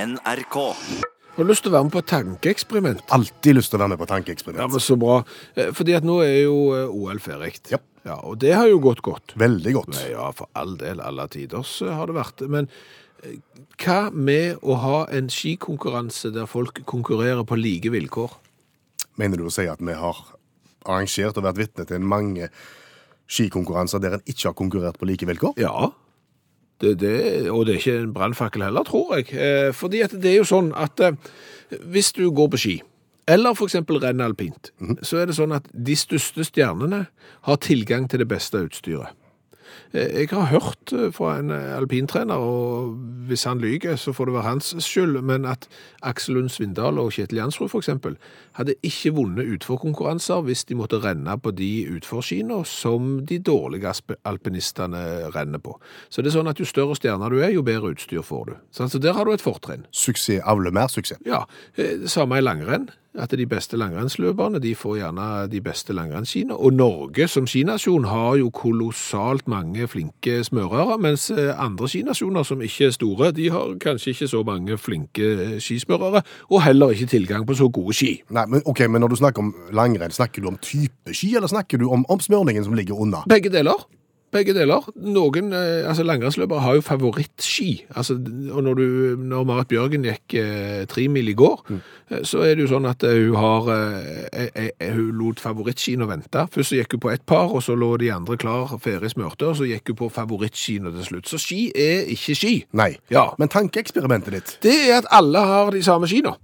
NRK. Har du lyst til å være med på et tankeeksperiment? Alltid lyst til å være med på Ja, tankeeksperiment. men så bra. Eh, Fordi at nå er jo eh, OL ferdig. Ja. ja. Og det har jo gått godt. Veldig godt. Nei, ja, for all del, alle tiders eh, har det vært. Men eh, hva med å ha en skikonkurranse der folk konkurrerer på like vilkår? Mener du å si at vi har arrangert og vært vitne til mange skikonkurranser der en ikke har konkurrert på like vilkår? Ja. Det, det, og det er ikke en brannfakkel heller, tror jeg. Eh, fordi at det er jo sånn at eh, hvis du går på ski, eller for eksempel renner alpint, så er det sånn at de største stjernene har tilgang til det beste utstyret. Eh, Jeg har hørt eh, fra en eh, alpintrener, og hvis han lyger, så får det være hans skyld, men at Aksel Lund Svindal og Kjetil Jansrud for eksempel, hadde ikke vunnet utforkonkurranser hvis de måtte renne på de utforskiene som de dårlige aspe- alpinistene renner på. Så det er sånn at jo større stjerner du er, jo bedre utstyr får du. Sånn, Så der har du et fortrinn. Suksess avler mer suksess. Ja, eh, det samme i langrenn. At de beste langrennsløperne de får gjerne de beste langrennsskiene. Og Norge som skinasjon har jo kolossalt mange flinke smørere, mens eh, andre skinasjoner som ikke er store, de har kanskje ikke så mange flinke eh, skismørere, og heller ikke tilgang på så gode ski. Nei, men, ok, men når du snakker om langrenn, snakker du om type ski, eller snakker du om omsmørningen som ligger unna? Begge deler. Begge deler. Noen eh, altså langrennsløpere har jo favorittski. Altså, og når, du, når Marit Bjørgen gikk eh, tre mil i går, eh, så er det jo sånn at eh, hun har eh, eh, eh, Hun lot favorittskien å vente. Først så gikk hun på ett par, og så lå de andre klar ferdig smørte, og så gikk hun på favorittskiene til slutt. Så ski er ikke ski. Nei. Ja. Men tankeeksperimentet ditt, Det er at alle har de samme skiene.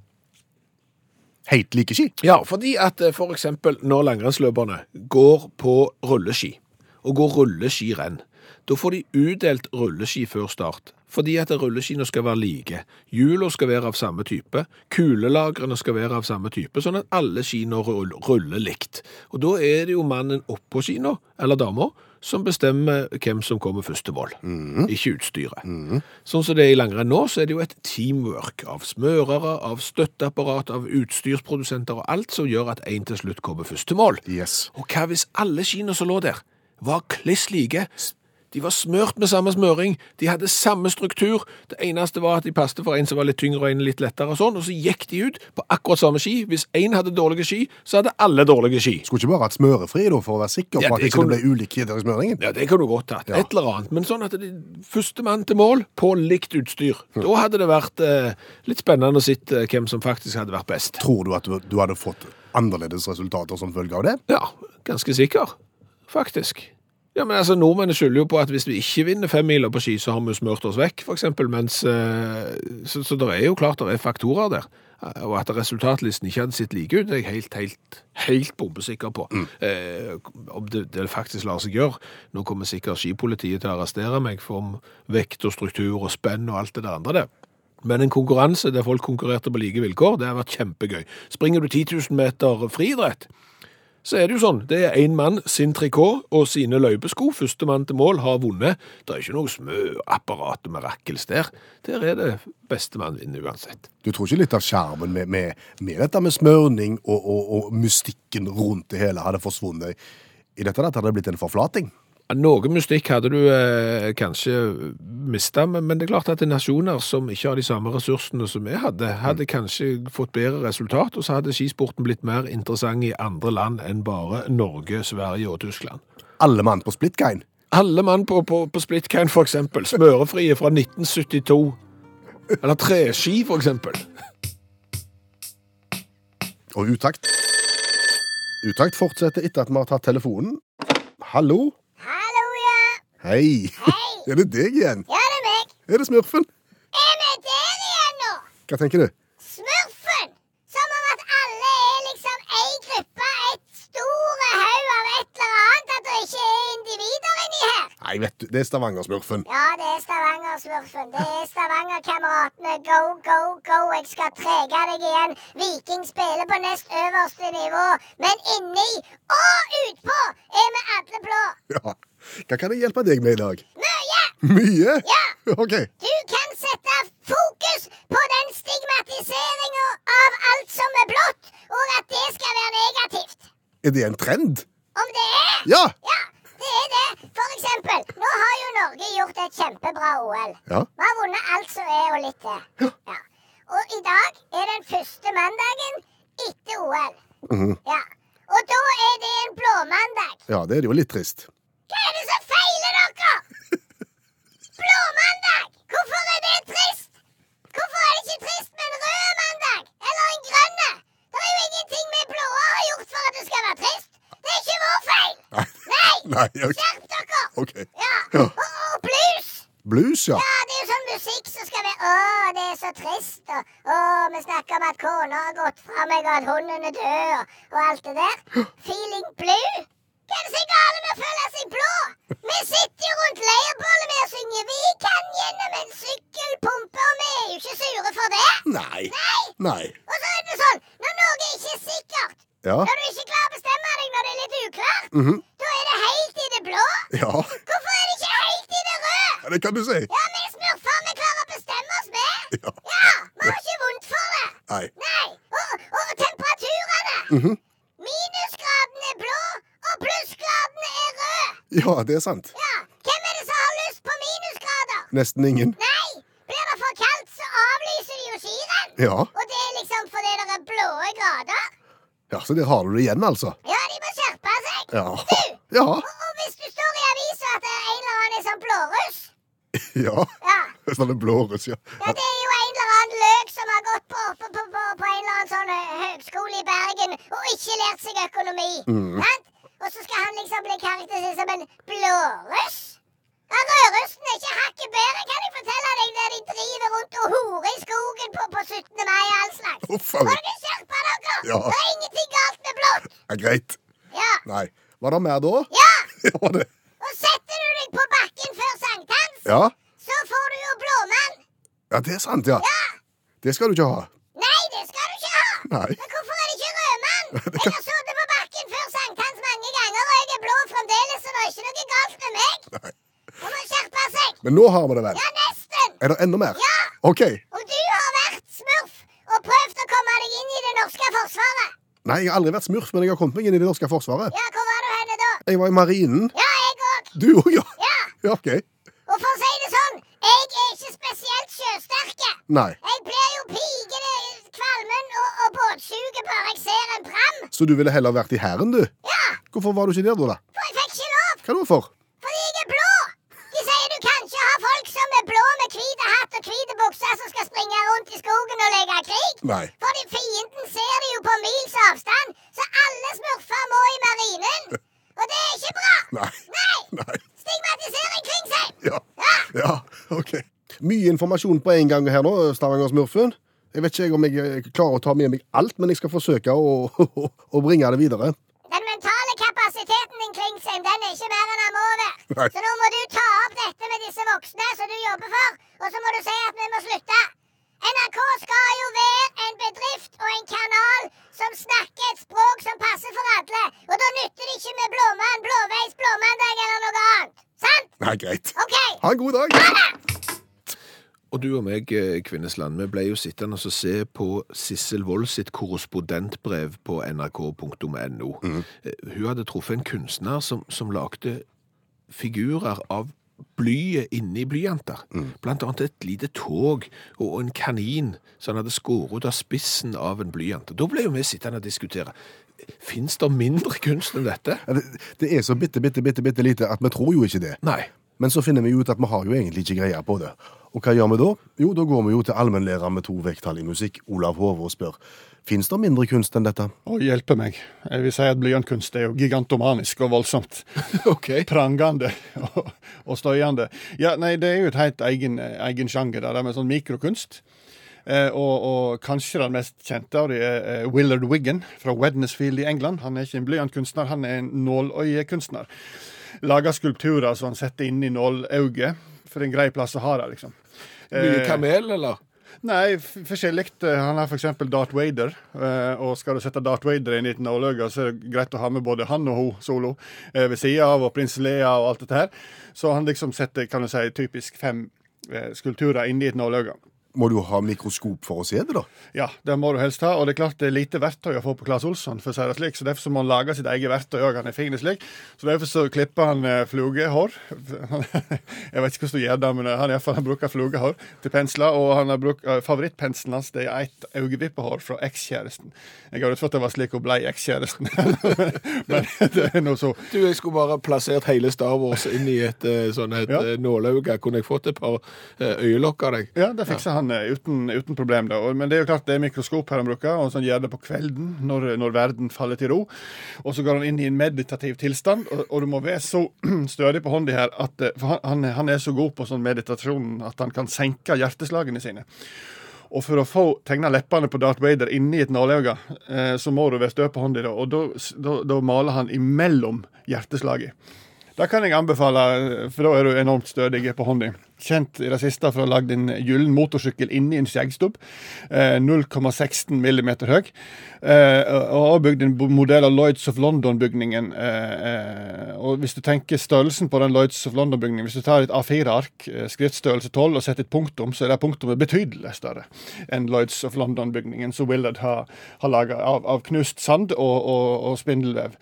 helt like ski. Ja, fordi at eh, for eksempel når langrennsløperne går på rulleski, og går rulleskirenn, da får de utdelt rulleski før start, fordi at rulleskiene skal være like. Hjulene skal være av samme type, kulelagrene skal være av samme type, sånn at alle skiene rull- ruller likt. Og da er det jo mannen oppå skina, eller dama, som bestemmer hvem som kommer først til mål, ikke utstyret. Sånn som det er i langrenn nå, så er det jo et teamwork av smørere, av støtteapparat, av utstyrsprodusenter og alt som gjør at en til slutt kommer først til mål. Yes. Og hva hvis alle skiene som lå der, var kliss like? De var smørt med samme smøring, de hadde samme struktur. Det eneste var at de passet for en som var litt tyngre og en litt lettere og sånn, og så gikk de ut på akkurat samme ski. Hvis en hadde dårlige ski, så hadde alle dårlige ski. Skulle ikke bare hatt smørefri da, for å være sikker på Ja, at det det ikke kunne- ble ulikheter i smøringen? Ja, det kan du godt tatt. Ja. Et eller annet. Men sånn at det- førstemann til mål på likt utstyr. Da hadde det vært eh, litt spennende å se eh, hvem som faktisk hadde vært best. Tror du at du, du hadde fått annerledes resultater som følge av det? Ja, ganske sikker. Faktisk. Ja, men altså, Nordmennene skylder jo på at hvis vi ikke vinner femmiler på ski, så har vi jo smurt oss vekk, f.eks. Mens eh, Så, så det er jo klart det er faktorer der. Eh, Og at resultatlisten ikke hadde sett like ut, er jeg helt, helt, helt bombesikker på. Eh, om det, det faktisk lar seg gjøre. Nå kommer sikkert skipolitiet til å arrestere meg for om vekt og struktur og spenn og alt det der andre der. Men en konkurranse der folk konkurrerte på like vilkår, det har vært kjempegøy. Springer du 10 000 meter friidrett, så er det jo sånn, det er en mann, sin trikot og sine løypesko. Førstemann til mål har vunnet. Det er ikke noe smøapparat og mirakels der. Der er det bestemann vinner uansett. Du tror ikke litt av skjermen med, med, med dette med smørning og, og, og mystikken rundt det hele hadde forsvunnet? I dette der hadde det blitt en forflating. Ja, Noe mystikk hadde du eh, kanskje mista, men men det er klart at det er nasjoner som ikke har de samme ressursene som vi hadde, hadde kanskje fått bedre resultat, og så hadde skisporten blitt mer interessant i andre land enn bare Norge, Sverige og Tyskland. Alle mann på splittgein. Alle mann på, på, på splitcan, for eksempel. Smørefrie fra 1972. Eller treski, for eksempel. Og utakt. Utakt fortsetter etter at vi har tatt telefonen. Hallo? Hallo, ja. Hei. Er det deg igjen? Ja, det er meg. Er det smurfen? Er vi der igjen nå? Hva tenker du? Smurfen! Som om at alle er liksom ei gruppe, et store haug av et eller annet. At det ikke er individer inni her. Nei, vet du, det er Stavanger-smurfen. Ja, det er Stavanger-smurfen. Det er Stavanger-kameratene. Go, go, go. Jeg skal trege deg igjen. Viking spiller på nest øverste nivå. Men inni og utpå er vi alle blå. Ja. Hva kan jeg hjelpe deg med i dag? Mye! Mye? Ja. Ok. Du kan sette fokus på den stigmatiseringa av alt som er blått, og at det skal være negativt. Er det en trend? Om det er Ja. Ja, det er det. For eksempel, nå har jo Norge gjort et kjempebra OL. Ja. Vi har vunnet alt som er og litt til. Ja. dag er den første mandagen etter OL. Ja. Og da er det en blåmandag. Mhm. Ja, det er jo litt trist. Hva er det som feiler dere? Blåmandag! Hvorfor er det trist? Hvorfor er det ikke trist med en rød mandag? Eller en grønn? Det er jo ingenting vi blå har gjort for at det skal være trist. Det er ikke vår feil. Nei! Nei, ok. Skjerp dere! Ok. Ja. Ja. Og, og blues! Blues, ja. Ja, det er jo sånn musikk som skal være Å, det er så trist, og å, vi snakker om at kona har gått fra meg, og at hunden er død, og, og alt det der. Feeling blue? Hva er det som er galt med å føle seg blå? Vi sitter jo rundt leirbålet med og synger 'Vi kan gjennom en sykkelpumpe', og vi er jo ikke sure for det. Nei. Nei! Nei. Og så er det sånn, når noe ikke er sikkert, Ja. når du ikke klarer å bestemme deg når det er litt uklart, Mhm. da er det helt i det blå. Ja, Hvorfor er det ikke helt i det røde? det kan du si. Ja, vi smurfer, vi klarer å bestemme oss, vi. Ja. Ja, vi har ikke vondt for det. Nei. Nei. Og, og temperaturene. Mhm. Minusgradene er blå, og plussgradene er røde. Ja, det er sant. Ja, hvem er det som har lyst på minusgrader? Nesten ingen. Nei, blir det for kaldt, så avlyser de jo skirenn. Ja. Og det er liksom fordi det er blå grader. ja, så der har du det igjen, altså. Ja, de må skjerpe seg. Ja. Du, Ja. og, og hvis du står i avisa at det er en eller annen er sånn blåruss, Ja. ja. Sånne blåruss, ja. Ja, det er jo en eller annen løk som har gått på, på, på, på, på en eller annen sånn eh, høgskole i Bergen og ikke lært seg økonomi. Mm. Sant? Og så skal han liksom bli karakterisert som en blåruss. Ja, Rødrussen er ikke hakket bedre, kan jeg fortelle deg, der de driver rundt og horer i skogen på, på 17. mai og all slags. Uff a Må meg. dere skjerpe dere! Ja. Det er ingenting galt med blått. Ja, greit. Ja. Nei. Var det mer da? ja. Ja, var det. Og setter du deg på bakken før sankthans, Ja. så får du jo blåmann. ja, det er sant, ja. Ja. Det skal du ikke ha. Nei, det skal du ikke ha! Nei. Men hvorfor er det ikke rødmann? Jeg har sittet på bakken før sankthans mange ganger, og jeg er blå fremdeles, så det er ikke noe galt med meg. Nei. Man må skjerpe seg! Men nå har vi det vel? Ja, nesten! Er det enda mer? Ja! OK. Og du har vært smurf og prøvd å komme deg inn i det norske forsvaret. Nei, jeg har aldri vært smurf, men jeg har kommet meg inn i det norske forsvaret. Ja, hvor var du henne da? Jeg var i marinen. Ja, jeg òg. Du òg, ja. Ja. ja. OK. Og for å si det sånn, jeg er ikke spesielt sjøsterke. Nei. Jeg blir jo pikende kvalmen og, og båtsjuke bare jeg ser en pram. Så du ville heller vært i hæren, du? Ja, Hvorfor var du ikke der, da? da? for jeg fikk ikke lov. Hva da for? Fordi jeg er blå! De sier du kan ikke ha folk som er blå med hvite hatt og hvite bukser som skal springe rundt i skogen og leke krig. Nei. Fordi fienden ser det jo på mils avstand, så alle smurfer må i marinen. Og det er ikke bra! Nei. Nei! Nei. Stigmatisering kring seg! Ja. ja. OK. Mye informasjon på en gang her nå, Stavanger-smurfen. Jeg vet ikke jeg om jeg eh, klarer å ta med meg alt, men jeg skal forsøke å, å, å bringe det videre. Den mentale kapasiteten din, Klingsheim, den er ikke mer enn den må Nei. være. Så nå må du ta opp dette med disse voksne som du jobber for, og så må du si at vi må slutte. NRK skal jo være en bedrift og en kanal som snakker et språk som passer for alle. Og da nytter det ikke med blåmann, blåveis, blåmandag eller noe annet. Sant? Nei, greit. OK. Ha en god dag. Og du og meg, eh, Kvinnesland, vi ble jo sittende og se på Sissel Wold sitt korrespondentbrev på nrk.no. Eh, Hun hadde truffet en kunstner som, som lagde figurer av blyet inni blyanter. Blant annet et lite tog og en kanin som han hadde skåret ut av spissen av en blyant. Da ble jo vi sittende og diskutere. Fins det mindre kunst enn dette? Ja, Det, det er så bitte, bitte, bitte, bitte lite at vi tror jo ikke det. Nei. Men så finner vi jo ut at vi har jo egentlig ikke greie på det. Og hva gjør vi da? Jo, da går vi jo til allmennlærer med to vekttall i musikk, Olav Hove, og spør Fins det mindre kunst enn dette. Å hjelpe meg. Jeg vil si at blyantkunst er jo gigantomanisk og voldsomt. OK. Prangende og, og støyende. Ja, nei, det er jo et helt egen, egen sjanger, det der med sånn mikrokunst. Eh, og, og kanskje den mest kjente av de er eh, Willard Wiggan fra Wednesfield i England. Han er ikke en blyantkunstner, han er en nåløyekunstner. Lager skulpturer som han setter inn i nålauget, for en grei plass å ha det, liksom. Mye Eh, kamel, eller? Nei, f- forskjellig. Eh, Han har f.eks. Darth Vader. eh, Og skal du sette Darth Vader inn i et nåløye, så er det greit å ha med både han og hun solo eh, ved sida av, og prins Lea og alt dette her. Så han liksom setter, kan du si, typisk fem eh, skulpturer inni et nåløye. Må du ha mikroskop for å se det, da? Ja, det må du helst ha. Og det er klart det er lite verktøy å få på Claes Olsson, for å si det slik. Så derfor så må han lage sitt eget verktøy òg. Han er fin slik. Så derfor så klipper han eh, flugehår. Jeg vet ikke hvordan du gjør det, men han, i hvert fall, han bruker flugehår til pensler. Og han har brukt, eh, favorittpenselen hans det er et øyevippehår fra ekskjæresten. Jeg hadde trodd det var slik hun ble ekskjæresten, men det er nå så. Du, jeg skulle bare plassert hele Star Wars inn i et eh, sånn et Ja. eh, nålauge. Kunne jeg fått et par eh, øyelokk av deg? Ja, det fikser han eh, uten, uten problem. da. Og- Men det er jo klart det er mikroskop her han bruker, og så han gjør det på kvelden når, når verden faller til ro. Og så går han inn i en meditativ tilstand, og, og du må være så stødig på hånda her at eh, For han, han, han er så god på sånn meditasjon at han kan senke hjerteslagene sine. Og for å få tegna leppene på Darth Vader inni et nåløye, eh, så må du være stø på hånda, da. og da, s- da, da maler han imellom hjerteslaget. Det kan jeg anbefale, for da er du enormt stødig på hånda. Kjent i det siste for å ha lagd en gyllen motorsykkel inni en skjeggstubb. eh, 0,16 millimeter høy. eh, Og og bygd en bo- modell av Lloyds of London-bygningen. eh, eh, Og hvis du tenker størrelsen på den Lloyds of London-bygningen Hvis du tar et A4-ark, eh, skriftstørrelse 12, og setter et punktum, så er det punktumet betydelig større enn Lloyds of London-bygningen som Willard har, har laga av, av knust sand og, og, og spindelvev.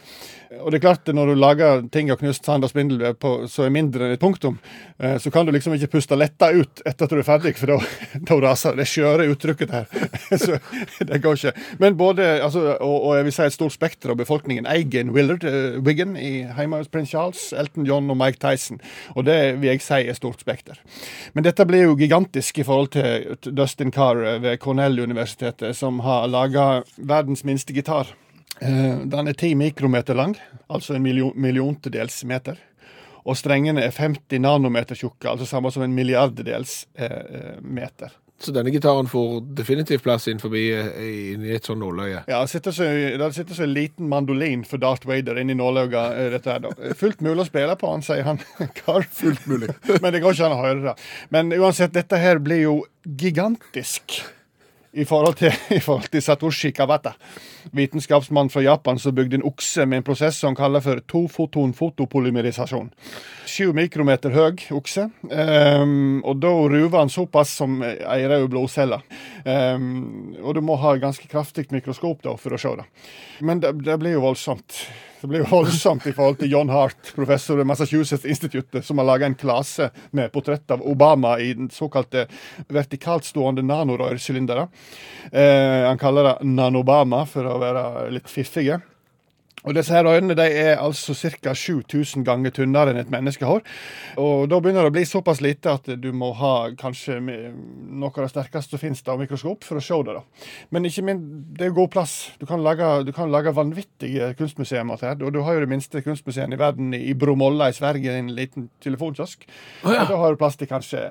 Og det er klart, når du lager ting av knust sand og spindelvev på, så er mindre enn et punktum, eh, så kan du liksom ikke puste letta ut etter at du er ferdig, for da, da raser det skjøre uttrykket der. så det går ikke. Men både, altså, og, og jeg vil si et stort spekter av befolkningen eier en Willard eh, Wigan i hjemme hos prins Charles, Elton John og Mike Tyson, og det vil jeg si er stort spekter. Men dette blir jo gigantisk i forhold til Dustin Carr ved Cornell-universitetet, som har laga verdens minste gitar. Eh, Den er ti mikrometer lang, altså en million, milliontedels meter. Og strengene er 50 nanometer tjukke, altså samme som en milliarddels eh, eh, meter. Så denne gitaren får definitivt plass inn forbi eh, inn i et sånn nåløye. Ja, det sitter så, der sitter så en liten mandolin for Darth Vader inni nålauga. eh, dette her da. Fullt mulig å spille på han, sier han. Carr. Fullt mulig. Men det går ikke an å høre det. Men uansett, dette her blir jo gigantisk i forhold til, i forhold til Satoshi Kawata. Vitenskapsmann fra Japan som bygde en okse med en prosess som han kaller for tofoton-fotopolymerisasjon. Sju mikrometer høy okse. ehm, og da ruver han såpass som ei rød blodcelle. Ehm, og du må ha ganske kraftig mikroskop da, for å se det. Men det, det blir jo voldsomt. Det blir jo voldsomt i forhold til John Hart, professor ved Massachusetts Institute, som har laga en klase med portrett av Obama i den såkalte vertikaltstående nanorørsylindere. Eh, han kaller det Nanobama, for å være litt fiffige. Og disse her øynene de er altså ca. 7000 ganger tynnere enn et menneskehår. Og da begynner det å bli såpass lite at du må ha kanskje mi- noe av det sterkeste som finnes av mikroskop for å se det. da. Men ikke min, det er jo god plass. Du kan lage, du kan lage vanvittige kunstmuseer. av dette her. Og du har jo det minste kunstmuseet i verden i Bromölla i Sverige, en liten telefonkiosk. Å ja. Og da har du plass til kanskje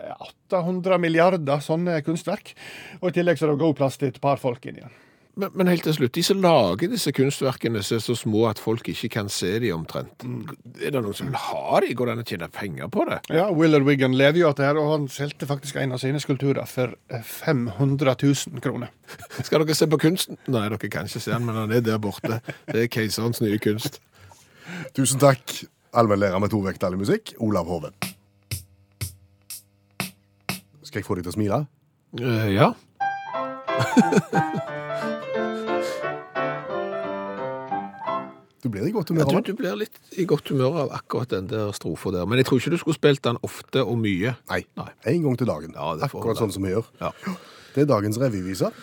800 milliarder sånne kunstverk. Og i tillegg så er det god plass til et par folk inni den. Men, men helt til slutt, de som lager disse kunstverkene som er så små at folk ikke kan se de omtrent, Mm. er det noen som vil ha de? Går det an å tjene penger på det? Ja, Willard Wiggan lever jo av det her, og han solgte faktisk en av sine skulpturer for eh, 500 000 kroner. Skal dere se på kunsten? Nei, dere kan ikke se den, men den er der borte. Det er keiserens nye kunst. Tusen takk, allmennlærer med to vekttall i musikk, Olav Hove. Skal jeg få deg til å smile? Eh, ja. Du blir i godt Ja, humør. du, av det. du blir litt i godt humør av akkurat den der strofa der. Men jeg tror ikke du skulle spilt den ofte og mye. Nei. Nei. En gang til dagen. Ja, det får Akkurat vi da. sånn som vi gjør. Ja. Det er dagens revyvise.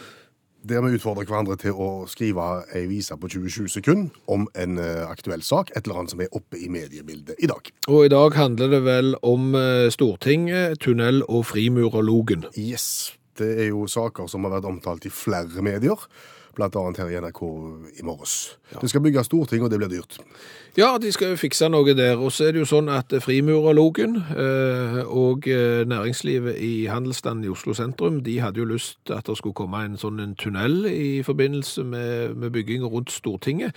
Der vi utfordrer hverandre til å skrive ei vise på 27 sekunder om en eh, aktuell sak, et eller annet som er oppe i mediebildet i dag. Og i dag handler det vel om eh, Stortinget, tunnel og frimurerlogen. Yes. Det er jo saker som har vært omtalt i flere medier, blant annet her i NRK i morges. Det skal bygges storting, og det blir dyrt. Ja, de skal jo fikse noe der. Og så er det jo sånn at frimurerlogen eh, og eh, næringslivet i handelsstanden i Oslo sentrum, de hadde jo lyst til at det skulle komme en sånn en tunnel i forbindelse med, med bygging rundt Stortinget.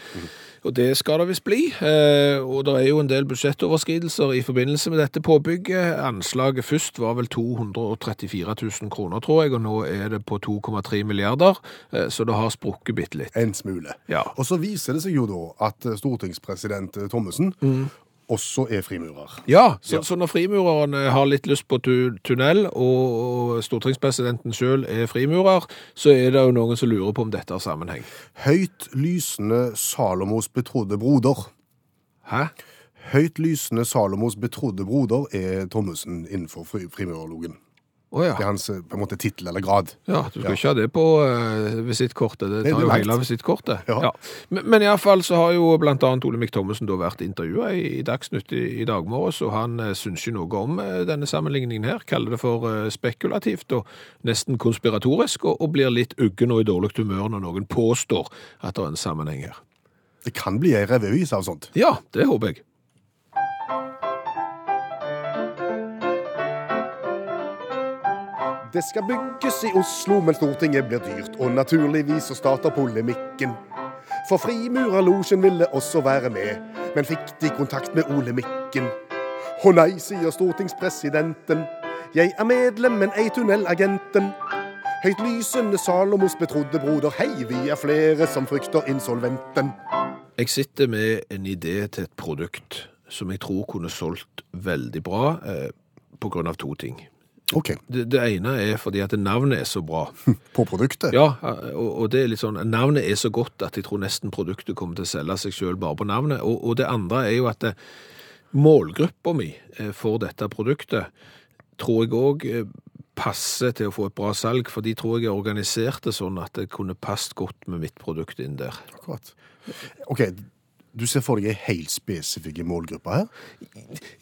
Og det skal det visst bli. Eh, og det er jo en del budsjettoverskridelser i forbindelse med dette påbygget. Anslaget først var vel 234 000 kroner, tror jeg, og nå er det på 2,3 milliarder, eh, så det har sprukket bitte litt. En smule. Ja. Og så viser det seg jo da at stortingspresident eh, Thommessen også er frimurer. Ja, så, så når frimurerne har litt lyst på tu tunnel, og, og stortingspresidenten sjøl er frimurer, så er det jo noen som lurer på om dette har sammenheng. Høyt lysende Salomos betrodde broder. Hæ? Høyt lysende Salomos betrodde broder er Thommessen innenfor fri frimurerlogen. Å Det er ja. hans eh, på en måte tittel eller grad. ja. Du skal ikke ha det på eh, visittkortet. Det tar Nei, det er jo langt. hele visittkortet. Ja. Men, men iallfall så har jo blant annet Olemic Thommessen da vært intervjua i, i Dagsnytt i, i dag morges, og han eh, syns ikke noe om eh, denne sammenligningen her. Kaller det for eh, spekulativt og nesten konspiratorisk, og, og blir litt uggen og i dårlig humør når noen påstår at det er en sammenheng her. Det kan bli ei revyvise av sånt. Ja, det håper jeg. Det skal bygges i Oslo, men Stortinget blir dyrt, og naturligvis så starter polemikken. For Frimurerlosjen ville også være med, men fikk de kontakt med Ole Mikken? Å nei, sier stortingspresidenten. Jeg er medlem, men ei tunnelagenten. Høyt lysende Salomos betrodde broder, hei, vi er flere som frykter insolventen. Jeg sitter med en idé til et produkt som jeg tror kunne solgt veldig bra eh, på grunn av to ting. OK, Det, det ene er fordi at navnet er så bra. på produktet? Ja, eh, og, og det er litt sånn, Navnet er så godt at jeg tror nesten produktet kommer til å selge seg sjøl bare på navnet. Og, og det andre er jo at eh, målgruppa mi eh, for dette produktet tror jeg òg passer til å få et bra salg, for de tror jeg er organiserte sånn at det kunne passet godt med mitt produkt inn der. Akkurat. OK, du ser for deg ei helt spesifikk målgruppe her?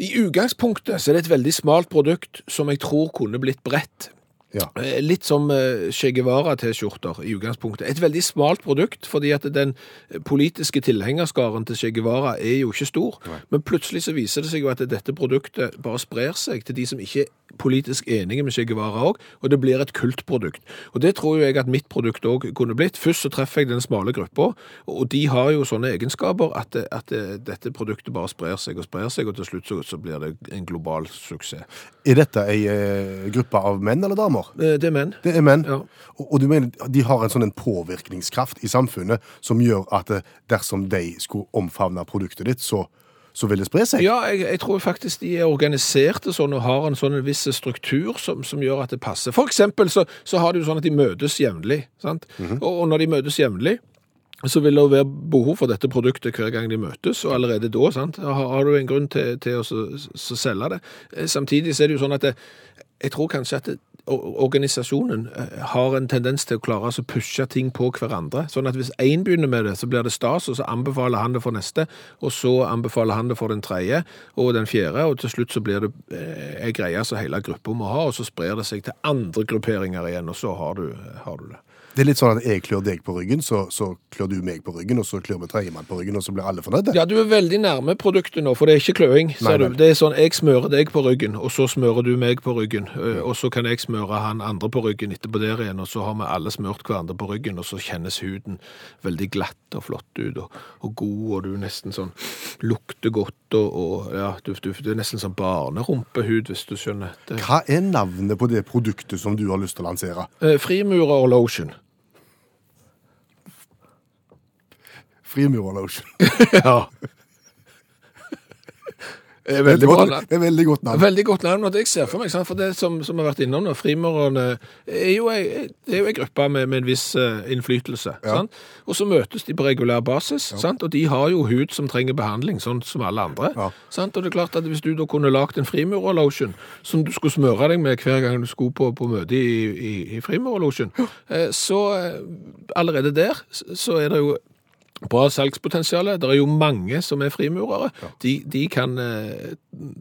I utgangspunktet så er det et veldig smalt produkt som jeg tror kunne blitt bredt. Ja. Eh, Litt som eh, Che Guevara-T-skjorter i utgangspunktet. Et veldig smalt produkt, fordi at den eh, politiske tilhengerskaren til Che Guevara er jo ikke stor. Men plutselig så viser det seg jo at dette produktet bare sprer seg til de som ikke er politisk enige med Che Guevara òg, og det blir et kultprodukt. Og det tror jo jeg at mitt produkt òg kunne blitt. Først så treffer jeg den smale gruppa, og de har jo sånne egenskaper at, det- at det- dette produktet bare sprer seg og sprer seg, og til slutt så, så blir det en global suksess. Er dette ei eh, gruppe av menn eller damer? Eh, Det er menn. Det er menn. Ja. Og, og du mener de har en sånn en påvirkningskraft i samfunnet som gjør at eh, dersom de skulle omfavne produktet ditt, så, så vil det spre seg? Ja, jeg, jeg tror faktisk de er organiserte sånn og har en sånn en viss struktur som, som gjør at det passer. For eksempel så, så har det jo sånn at de møtes jevnlig, sant? og, og når de møtes jevnlig, så vil det jo være behov for dette produktet hver gang de møtes, og allerede da sant? Har, har du en grunn til, til å så, så selge det. Eh, Samtidig så er det jo sånn at det, jeg tror kanskje at det, o- organisasjonen eh, har en tendens til å klare altså, å pushe ting på hverandre. Sånn at hvis én begynner med det, så blir det stas, og så anbefaler han det for neste, og så anbefaler han det for den tredje og den fjerde, og til slutt så blir det eh, ei greie som hele gruppa må ha, og så sprer det seg til andre grupperinger igjen, og så har du, har du det. Det er litt sånn at jeg klør deg på ryggen, så, så klør du meg på ryggen, og så klør vi tredjemann på ryggen, og så blir alle fornøyde? Ja, du er veldig nærme produktet nå, for det er ikke kløing, ser Nei, du. Det er sånn, jeg smører deg på ryggen, og så smører du meg på ryggen, ø, Mm. og så kan jeg smøre han andre på ryggen etterpå der igjen, og så har vi alle smørt hverandre på ryggen, og så kjennes huden veldig glatt og flott ut, og, og god, og du nesten sånn lukter godt, og, og ja, du, du, du er nesten sånn barnerumpehud, hvis du skjønner. Det, Hva er navnet på det produktet som du har lyst til å lansere? Eh, frimurer og lotion. Frimurerlotion. Ja. Det er Det er veldig et bra. godt- da. det er et veldig godt navn. Veldig godt navn, og det jeg ser for meg, sant? for det som, som har vært innom nå, frimurerne, er jo ei- det er jo ei gruppe med, med en viss eh, innflytelse. Sant? Og så møtes de på regulær basis, sant? og de har jo hud som trenger behandling, sånn som alle andre. Ja. Sant? Og det er klart at hvis du da kunne lagd en frimurerlotion som du skulle smøre deg med hver gang du skulle på, på møte i, i, i frimurerlotion, eh, så eh, allerede der s- så er det jo Bra salgspotensial. Det er jo mange som er frimurere. De, de kan eh,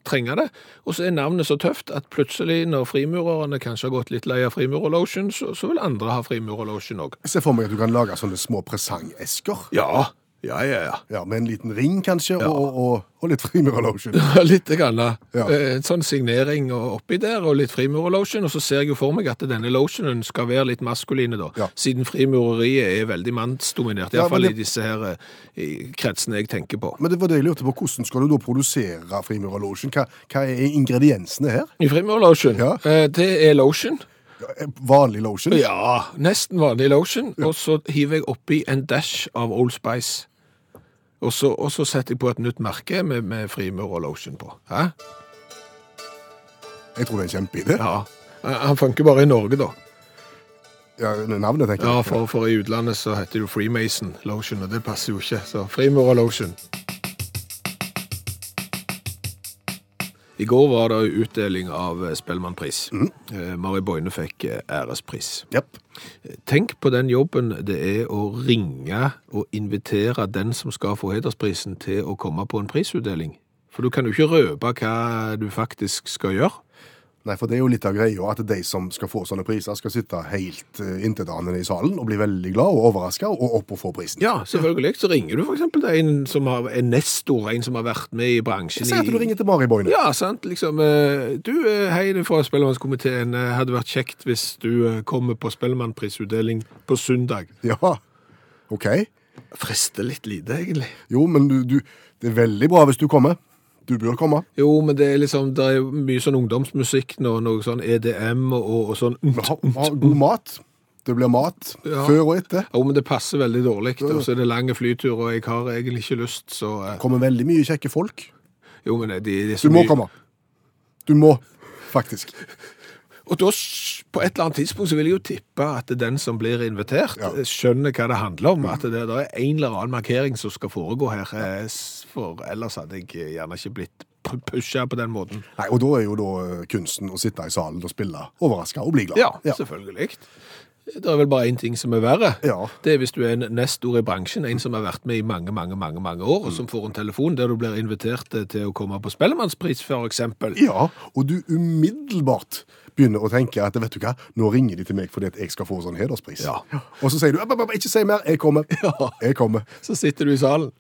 trenge det. Og så er navnet så tøft at plutselig, når frimurerne kanskje har gått litt lei av frimurerlotion, så, så vil andre ha frimurerlotion òg. Jeg ser for meg at du kan lage sånne små presangesker. Ja. Ja, ja, ja. Ja, med en liten ring, kanskje, og, og, og litt frimurerlotion. Litt grann. da. Ja. Eh, En sånn signering og oppi der, og litt frimurerlotion. Og så ser jeg jo for meg at denne lotionen skal være litt maskuline, da. Ja. Siden frimureriet er veldig mannsdominert. Ja, Iallfall fall men i disse her eh, i kretsene jeg tenker på. Men det var det jeg lurte på. Hvordan skal du da produsere frimurerlotion? Hva, hva er ingrediensene her? I frimurerlotion, Ja. eh, det er lotion. eh, Vanlig lotion? Ja, nesten vanlig lotion. Og så hiver jeg oppi en dash av Old Spice. Og så, og så setter jeg på et nytt merke med, med frimur og lotion på. Hæ? Jeg tror det er en kjempeidé. Ja. Han funker bare i Norge, da. Ja, navnet, tenker Ja, jeg. for, for i utlandet så heter det jo Freemason Lotion, og det passer jo ikke. Så Frimur og Lotion. I går var det jo utdeling av eh, Spellemannpris. Mm. Eh, Mari Boine fikk eh, ærespris. Japp. Tenk på den jobben det er å ringe og invitere den som skal få hedersprisen til å komme på en prisutdeling. For du kan jo ikke røpe hva du faktisk skal gjøre. Nei, for det er jo litt av greia at de som skal få sånne priser, skal sitte helt eh, intetanende i salen og bli veldig glad og overraska og opp og få prisen. Ja, selvfølgelig. Så ringer du for eksempel til en som har, en nestor, en som har vært med i bransjen. Si at du i- ringer til Mari Boine. Ja, sant. Liksom, eh, du, eh, hei, det er fra Spellemannskomiteen. Eh, Hadde vært kjekt hvis du eh, kommer på Spellemannprisutdeling på søndag. Ja. OK. Frister litt lite, egentlig. Jo, men du, du Det er veldig bra hvis du kommer. Du bør komme. Jo, men det er liksom, det er jo mye sånn ungdomsmusikk nå, noe sånn EDM og, og, og sånn. Ha, ha god mat. Det blir mat Ja. før og etter. Jo, men det passer veldig dårlig, og så er det lange flyturer, og jeg har egentlig ikke lyst, så... eh, kommer veldig mye kjekke folk. Jo, men det, det er så Du må mye- komme. Du må, faktisk. Og da, s- på et eller annet tidspunkt, så vil jeg jo tippe at den som blir invitert, Ja. eh, skjønner hva det handler om. At det, det er en eller annen markering som skal foregå her. eh, s- For ellers hadde jeg eh, gjerne ikke blitt pu- pusha på den måten. Nei, Og da er jo da eh, kunsten å sitte i salen og spille overraska og bli glad. Ja, selvfølgelig. Det er vel bare én ting som er verre. Ja. Det er hvis du er en nestor i bransjen, en som har vært med i mange mange, mange, mange år, og Mm. som får en telefon der du blir invitert eh, til å komme på Spellemannspris, f.eks. Ja, og du umiddelbart begynner å tenke at vet du hva, nå ringer de til meg fordi at jeg skal få sånn hederspris. Ja. Og så sier du «App, app, app, ikke si mer, jeg kommer. Jeg kommer. Så sitter du i salen,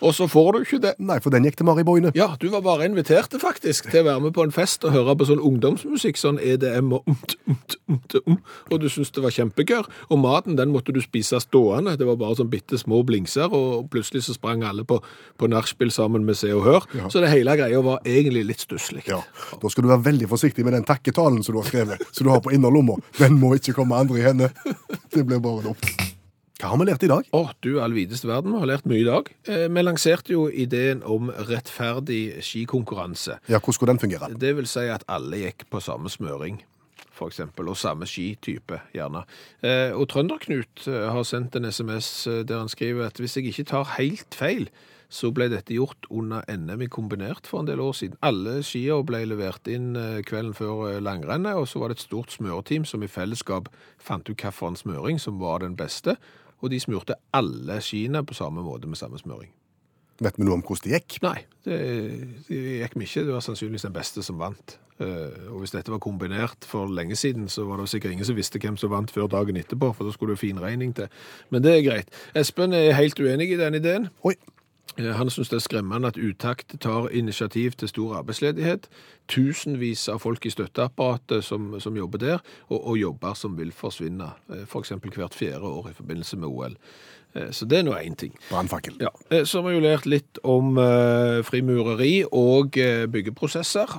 og så får du ikke det. Nei, for den gikk til Mari Boine. Ja, du var bare invitert til, faktisk til å være med på en fest og høre på sånn ungdomsmusikk, sånn EDM og umt, umt, umt, um, og du syntes det var kjempegør. Og maten, den måtte du spise stående. Det var bare sånn bitte små blingser, og plutselig så sprang alle på, på nachspiel sammen med Se og Hør. Så det hele greia var egentlig litt stusslig. Ja. Da skal du være veldig forsiktig med den takketalen som du har skrevet, som du har på innerlomma. Den må ikke komme andre i henne. Det blir bare dumt. Hva har vi lært i dag? Å, du all videste verden, vi har lært mye i dag. Eh, vi lanserte jo ideen om rettferdig skikonkurranse. Ja, hvordan skulle den fungere? Det vil si at alle gikk på samme smøring, for eksempel, og samme skitype, gjerne. Eh, og Trønder-Knut eh, har sendt en SMS eh, der han skriver at hvis jeg ikke tar helt feil, så ble dette gjort under NM i kombinert for en del år siden. Alle skier ble levert inn eh, kvelden før eh, langrennet, og så var det et stort smøreteam som i fellesskap fant ut hvilken smøring som var den beste, og de smurte alle skiene på samme måte med samme smøring. Vet vi noe om hvordan det gikk? Nei, det, det gikk vi ikke. Det var sannsynligvis den beste som vant. Eh, og hvis dette var kombinert for lenge siden, så var det sikkert ingen som visste hvem som vant før dagen etterpå, for da skulle det finregning til. Men det er greit. Espen er helt uenig i den ideen. Oi, Eh, Han syns det er skremmende at utakt tar initiativ til stor arbeidsledighet. Tusenvis av folk i støtteapparatet som, som jobber der, og, og jobber som vil forsvinne. F.eks. hvert fjerde år i forbindelse med OL. Eh, Så det er nå én ting. brannfakkel. Ja, eh, Så har vi jo lært litt om eh, frimureri og eh, byggeprosesser.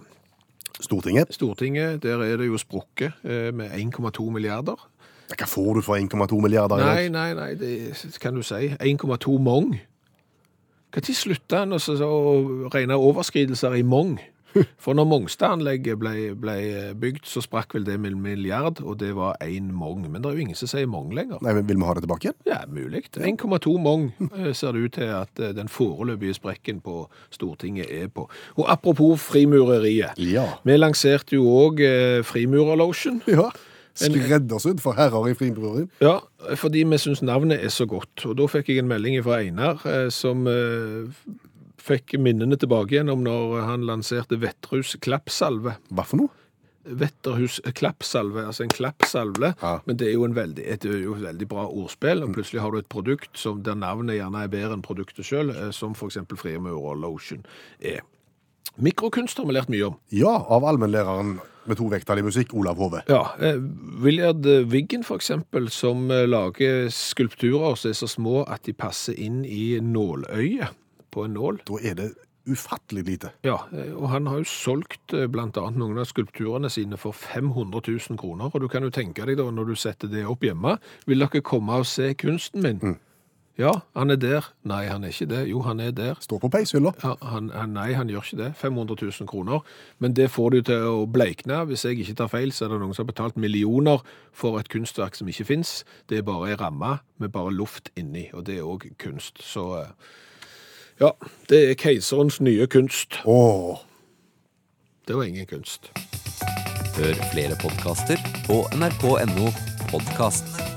Stortinget. Stortinget, der er det jo sprukket eh, med 1,2 milliarder. Hva får du for 1,2 milliarder? i dag? Nei, nei, nei, det kan du si. 1,2 mong. Når slutta en å så- så regne overskridelser i mong? For når Mongstad-anlegget ble, ble bygd, så sprakk vel det med en milliard, og det var én mong. Men det er jo ingen som sier mong lenger. Nei, men Vil vi ha det tilbake? Ja, mulig. 1,2 mong eh, ser det ut til at eh, den foreløpige sprekken på Stortinget er på. Og apropos frimureriet. Ja. Vi lanserte jo òg eh, frimurerlosjen. ja. Skreddersydd for herrer i fribrorien. Ja, fordi vi syns navnet er så godt. Og da fikk jeg en melding fra Einar eh, som eh, fikk minnene tilbake igjen om når han lanserte Vetterhus klappsalve. Hva for noe? Vetterhus klappsalve, altså en klappsalve, Ja. men det er jo en veldig, et det er jo et veldig bra ordspill, og plutselig har du et produkt som, der navnet gjerne er bedre enn produktet selv, eh, som for eksempel Frimur og Lotion er. Mikrokunst har vi lært mye om. Ja, av allmennlæreren med to vekttall i musikk, Olav Hove. Ja, eh, Willard Wiggen for eksempel, som eh, lager skulpturer som er så små at de passer inn i nåløyet på en nål. Da er det ufattelig lite. Ja, eh, og han har jo solgt eh, blant annet noen av skulpturene sine for 500 000 kroner, og du kan jo tenke deg da, når du setter det opp hjemme, vil dere komme og se kunsten min? Ja, han er der. Nei, han er ikke det. Jo, han er der. Står på peishylla. Ja, Han, han, nei, han gjør ikke det. 500 000 kroner. Men det får du til å bleikne. Hvis jeg ikke tar feil, så er det noen som har betalt millioner for et kunstverk som ikke fins. Det er bare ei ramme med bare luft inni, og det er òg kunst. Så eh, ja, det er keiserens nye kunst. Åh. Det var ingen kunst. Hør flere podkaster på nrk.no podkast.